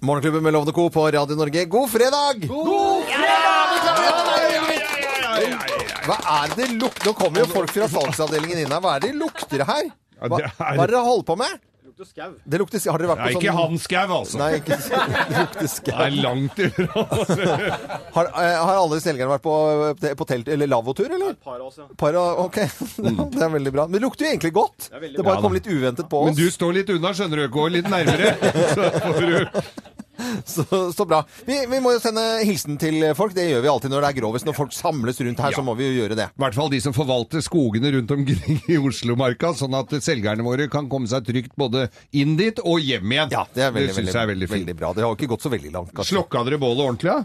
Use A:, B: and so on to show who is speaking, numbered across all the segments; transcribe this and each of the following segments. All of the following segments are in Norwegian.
A: Morgenklubben med Lovende Co. på Radio Norge, god fredag! Hva er det lukter? Nå kommer jo folk fra salgsavdelingen inn her. Hva er det de lukter her? Hva, hva
B: det
A: er
B: er-
A: det dere holder på med? Det lukter skau. Har dere vært
B: Nei,
A: på sånn
B: ikke han skau, altså.
A: Nei, ikke sånn- Det lukter skau.
B: Det er langt ifra.
A: Har, eh, har alle selgerne vært på, på telt- eller lavvotur, eller?
C: Par av oss, ja.
A: Para, ok,
B: Mm.
A: Det er veldig bra. Men det lukter jo egentlig godt. Det,
C: er veldig
A: bare
B: bra.
A: kom litt uventet på
B: Men
A: oss.
B: du står litt unna, skjønner du. Går litt nærmere. Så får du
A: Så, så bra. Vi, vi må jo sende hilsen til folk. Det gjør vi alltid når det er grovest. Når folk samles rundt her, så må vi jo gjøre det.
B: I hvert fall de som forvalter skogene rundt omkring i Oslomarka, sånn at selgerne våre kan komme seg trygt både inn dit og hjem igjen.
A: Ja, Det er veldig,
B: synes jeg er veldig fint.
A: bra. Det har jo ikke gått så veldig langt. kanskje.
B: Slokka dere bålet ordentlig, da?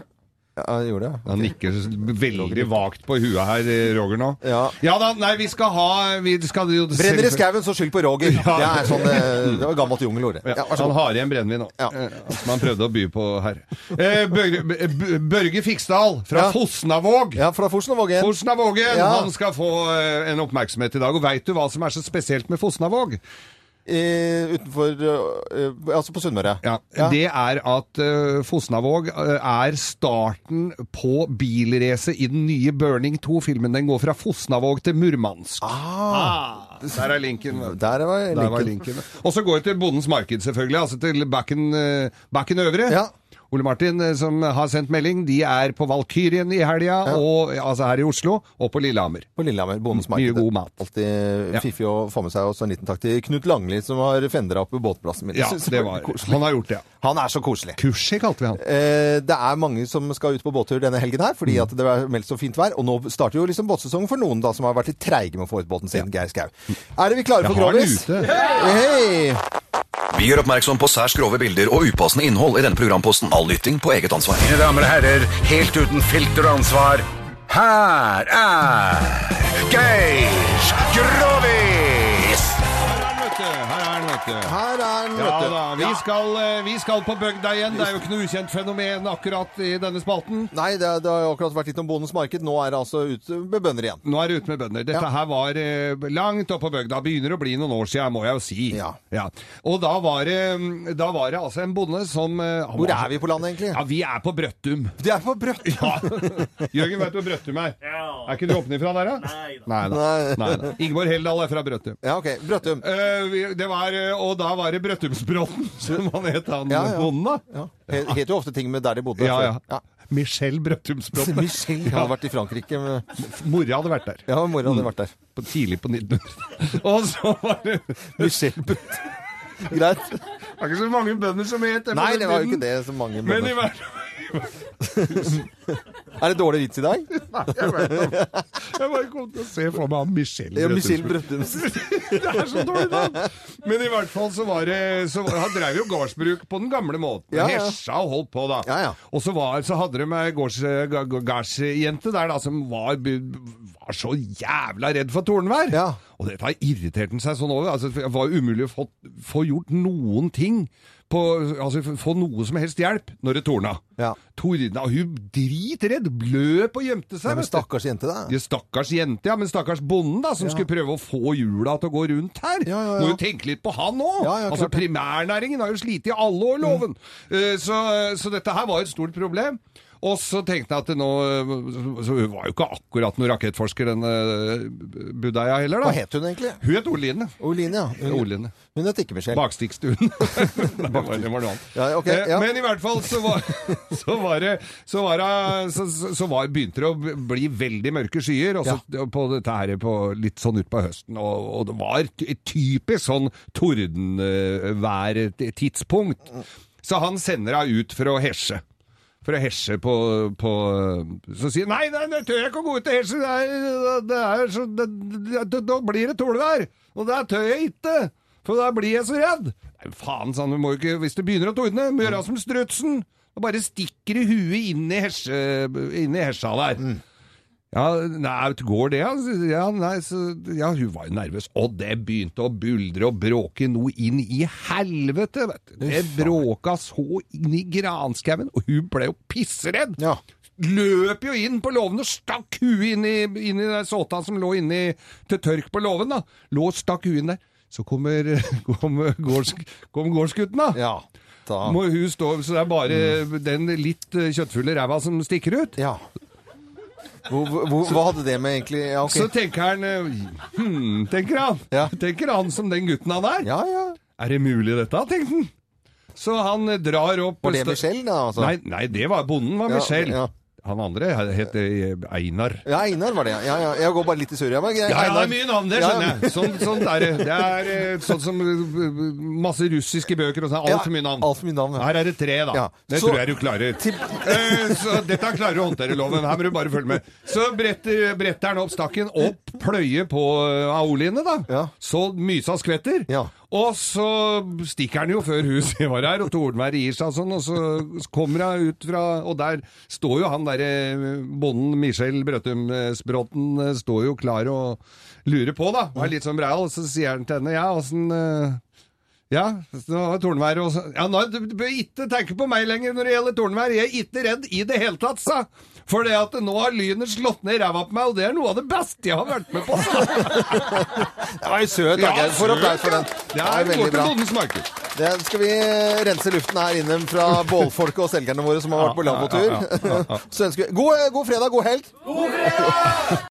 A: Ja, jeg gjorde det.
B: Han nikker veldig vagt på huet her, eh, Roger, nå.
A: Ja.
B: da, nei, vi skal ha vi skal jo
A: Brenner i skauen, så skyld på Roger. Det er sånn eh, Det var gammelt jungelord.
B: Ja,
A: Ja, vær så
B: han
A: god.
B: har igjen brennevin nå,
A: Ja.
B: eh, som han prøvde å by på her. Eh, Børge, B- Børge Fiksdal fra
A: Ja.
B: Fosnavåg.
A: Ja, fra Fosenvågen.
B: Fosnavågen
A: Ja.
B: han skal få eh, en oppmerksomhet i dag. Og veit du hva som er så spesielt med Fosnavåg?
A: Eh, utenfor eh, eh, Altså på Sunnmøre.
B: Ja, Det er at eh, Fosnavåg eh, er starten på bilracet i den nye Burning 2-filmen. Den går fra Fosnavåg til Murmansk. Ah. Der er linken. vet du.
A: Der var linken.
B: Der var linken. Og så går jeg til Bondens Marked, selvfølgelig. Altså til Bakken, eh, bakken Øvre.
A: Ja.
B: Ole Martin, eh, som har sendt melding, de er på Valkyrien i helga, og, altså her i Oslo, og på Lillehammer.
A: På Lillehammer. Bondens
B: Mye
A: marked.
B: god mat.
A: Alltid
B: Ja.
A: fiffig å få med seg. Og så en liten takk til Knut Langli, som har fendra opp båtplassen min.
B: Ja,
A: Jeg synes
B: det
A: var
B: var
A: koselig.
B: Han har gjort det. ja.
A: Han er så koselig.
B: Kursi kalte vi han.
A: Eh, det er mange som skal ut på båttur denne helgen her,
B: Mm.
A: fordi at det er meldt så fint vær. Og nå starter jo liksom båtsesongen for noen da, som har vært litt treige med å få ut båten sin. Geir Skau. Er vi klare
B: Jeg
A: for
B: har den
A: Grovis?
B: ute.
A: Hei!
D: Vi gjør oppmerksom på særs grove bilder og upassende innhold i denne programposten. All lytting på eget ansvar.
E: Mine damer og herrer, helt uten filter og ansvar, her er Geir Grovis!
B: Her er han, vet du. Her er han, vet du.
A: Her er den,
B: Ja
A: vet du.
B: da, vi skal, eh, vi skal på bygda igjen. Det er jo ikke noe ukjent fenomen akkurat i denne spalten.
A: Nei, det, det har jo akkurat vært litt om Bondens marked. Nå er det altså ute med bønder igjen.
B: Nå er det ute med bønder. Dette
A: Ja.
B: her var eh, langt oppe på bygda. Begynner å bli noen år siden, må jeg jo si.
A: Ja.
B: Og da var, det, da var det altså en bonde som eh, han
A: Hvor
B: var-
A: er vi på landet, egentlig?
B: Ja, vi er på Brøttum.
A: Det er på Brøtt.
B: Ja. Jørgen, vet du hvor Brøttum er?
C: Ja.
B: Er ikke du åpnet fra der, da?
C: Nei da.
B: Nei da.
A: Nei.
B: Nei da. Ingeborg Heldal er fra Brøttum.
A: Ja, OK. Brøttum.
B: Eh, vi- det var, eh, og da var det Brøttumsbråten, som han het, han
A: Ja, ja.
B: bonden, da.
A: Ja. He- Heter jo ofte ting med der de bodde.
B: Ja, ja.
A: før. ja.
B: Michelle Brøttumsbråten.
A: Michelle hadde vært i Frankrike med
B: Mora hadde vært der.
A: Ja, mora hadde vært der.
B: På, tidlig på 1900. og så var det
A: Michelle Brøtt. Greit.
B: Det var ikke så mange bønder som het det. på
A: Nei,
B: den
A: det var jo
B: tiden.
A: ikke det så mange
B: Men
A: mener.
B: i hvert
A: Er det dårlig vits i dag?
B: Jeg bare kom til å se for meg han Michelle.
A: Ja, Michelle
B: Brøttum.
A: Brøttum.
B: Det er så dårlig navn! Men i hvert fall så var det så var, Han drev jo gårdsbruk på den gamle måten.
A: Ja, ja.
B: Hesja og holdt på, da.
A: Ja, ja.
B: Og så, var, så hadde de ei gårds- ga- ga- gardsjente der da som var, var så jævla redd for tordenvær.
A: Ja.
B: Og dette har irritert han seg sånn over. Altså, det var umulig å få, få gjort noen ting. På, altså Få noe som helst hjelp når det torna.
A: Ja.
B: Tordna, hun dritredd, løp og gjemte seg.
A: Nei, men
B: vet du.
A: stakkars jente, da.
B: Ja, stakkars jente, ja, men stakkars bonden da, som skulle prøve å få hjula til å gå rundt her.
A: Ja, ja, ja.
B: Må jo tenke litt på han òg.
A: Ja, ja,
B: altså,
A: klart det. Mm.
B: primærnæringen har jo slitt i alle år, loven. Eh, så, så dette her var et stort problem. Og så tenkte jeg at det nå eh, Så hun var jo ikke akkurat noen rakettforsker, denne eh, budeia heller,
A: Hva
B: da.
A: het hun egentlig?
B: Hun het Oline.
A: Oline, ja. Hun,
B: Oline.
A: hun het ikke Michelle.
B: Bakstikkstuen. Nei, det var- det var noe annet.
A: Ja, ok,
B: Eh,
A: ja.
B: Men i hvert fall så var, så var det Så, var det, så, så- så var, begynte det å bli veldig mørke skyer og så, på dette her på, litt sånn utpå høsten. Og, og det var ty- et typisk sånn tordenværtidspunkt. Så han sender henne ut for å hesje. For å hesje på, på Så sier han, nei, nei, det tør jeg ikke å gå ut og hesje, det er, det er så, det, det, det, Da blir det tordenvær! Og det tør jeg ikke! For da blir jeg så redd! Nei, faen, sa han, du må jo ikke, hvis det begynner å tordne, må gjøre som strutsen! Og bare stikker i huet inn i, hesje, inn i hesja der. Ja, nei, går det, altså? Ja, nei, så, ja, hun var jo nervøs. Og det begynte å buldre og bråke noe inn i helvete, vet du. Det bråka så inn i granskauen, og hun ble jo pissredd.
A: Ja.
B: Løp jo inn på låven og stakk huet inn i, inn i den såta som lå inni til tørk på låven, da. Lå og stakk huet inn der. Så kommer, kom, gårds, kom gårdsgutten, da.
A: Ja. Mm. da.
B: Må hun stå, så det er bare den litt eh, kjøttfulle ræva som stikker ut.
A: Ja. Hvor, hvor, hva hadde det med egentlig ja, ok.
B: Så tenker han eh, hmm, tenker han.
A: Ja.
B: Tenker han som den gutten han er.
A: Ja, ja.
B: Er det mulig dette, tenkte han. Så han eh, drar opp
A: Var det Michelle, da? Altså?
B: Nei, nei, det var bonden var
A: Ja,
B: Michelle.
A: ja.
B: Han andre het eh, Einar.
A: Ja, Einar var det. Ja, ja. Jeg går bare litt i surr. Ja, men greit,
B: Ja, det
A: Einar.
B: er mye navn, det
A: Ja.
B: skjønner jeg. Sånn, sånn er det. Det er eh, sånn som eh, masse russiske bøker og sånn.
A: Ja,
B: Altfor mye navn.
A: alt for mye navn, ja.
B: Her er det tre, da.
A: Ja.
B: Det
A: Så-
B: tror jeg du klarer.
A: Til-
B: Eh, så dette klarer du å håndtere, loven. Her må du bare følge med. Så bretter, bretter han opp stakken, opp pløye på eh, Aoline, da.
A: Ja.
B: Så mysa skvetter.
A: Ja.
B: Og så stikker han jo før huset var her, og Tordenberg gir seg og sånn, og så kommer han ut fra Og der står jo han derre eh, bonden Michel Brøttum eh, Språten eh, står jo klar og lurer på, da. Og er litt sånn breial, og så sier han til henne Ja, åssen eh, ja, så var Tordenvær og så- Ja, nå, du, du bør ikke tenke på meg lenger når det gjelder Tordenvær. Jeg er ikke redd i det hele tatt, sa. For det at nå har lynet slått ned ræva på meg, og det er noe av det beste jeg har vært med på. sa.
A: Det var jo søt. da. Jeg får applaus for den.
B: Det
A: Det
B: er
A: er veldig
B: godt til
A: bra.
B: bondens marked.
A: Det skal vi rense luften her inne fra bålfolket og selgerne våre som har vært på
B: Ja, ja, ja, ja,
A: lavvotur. Så ønsker vi god, god fredag, god helg.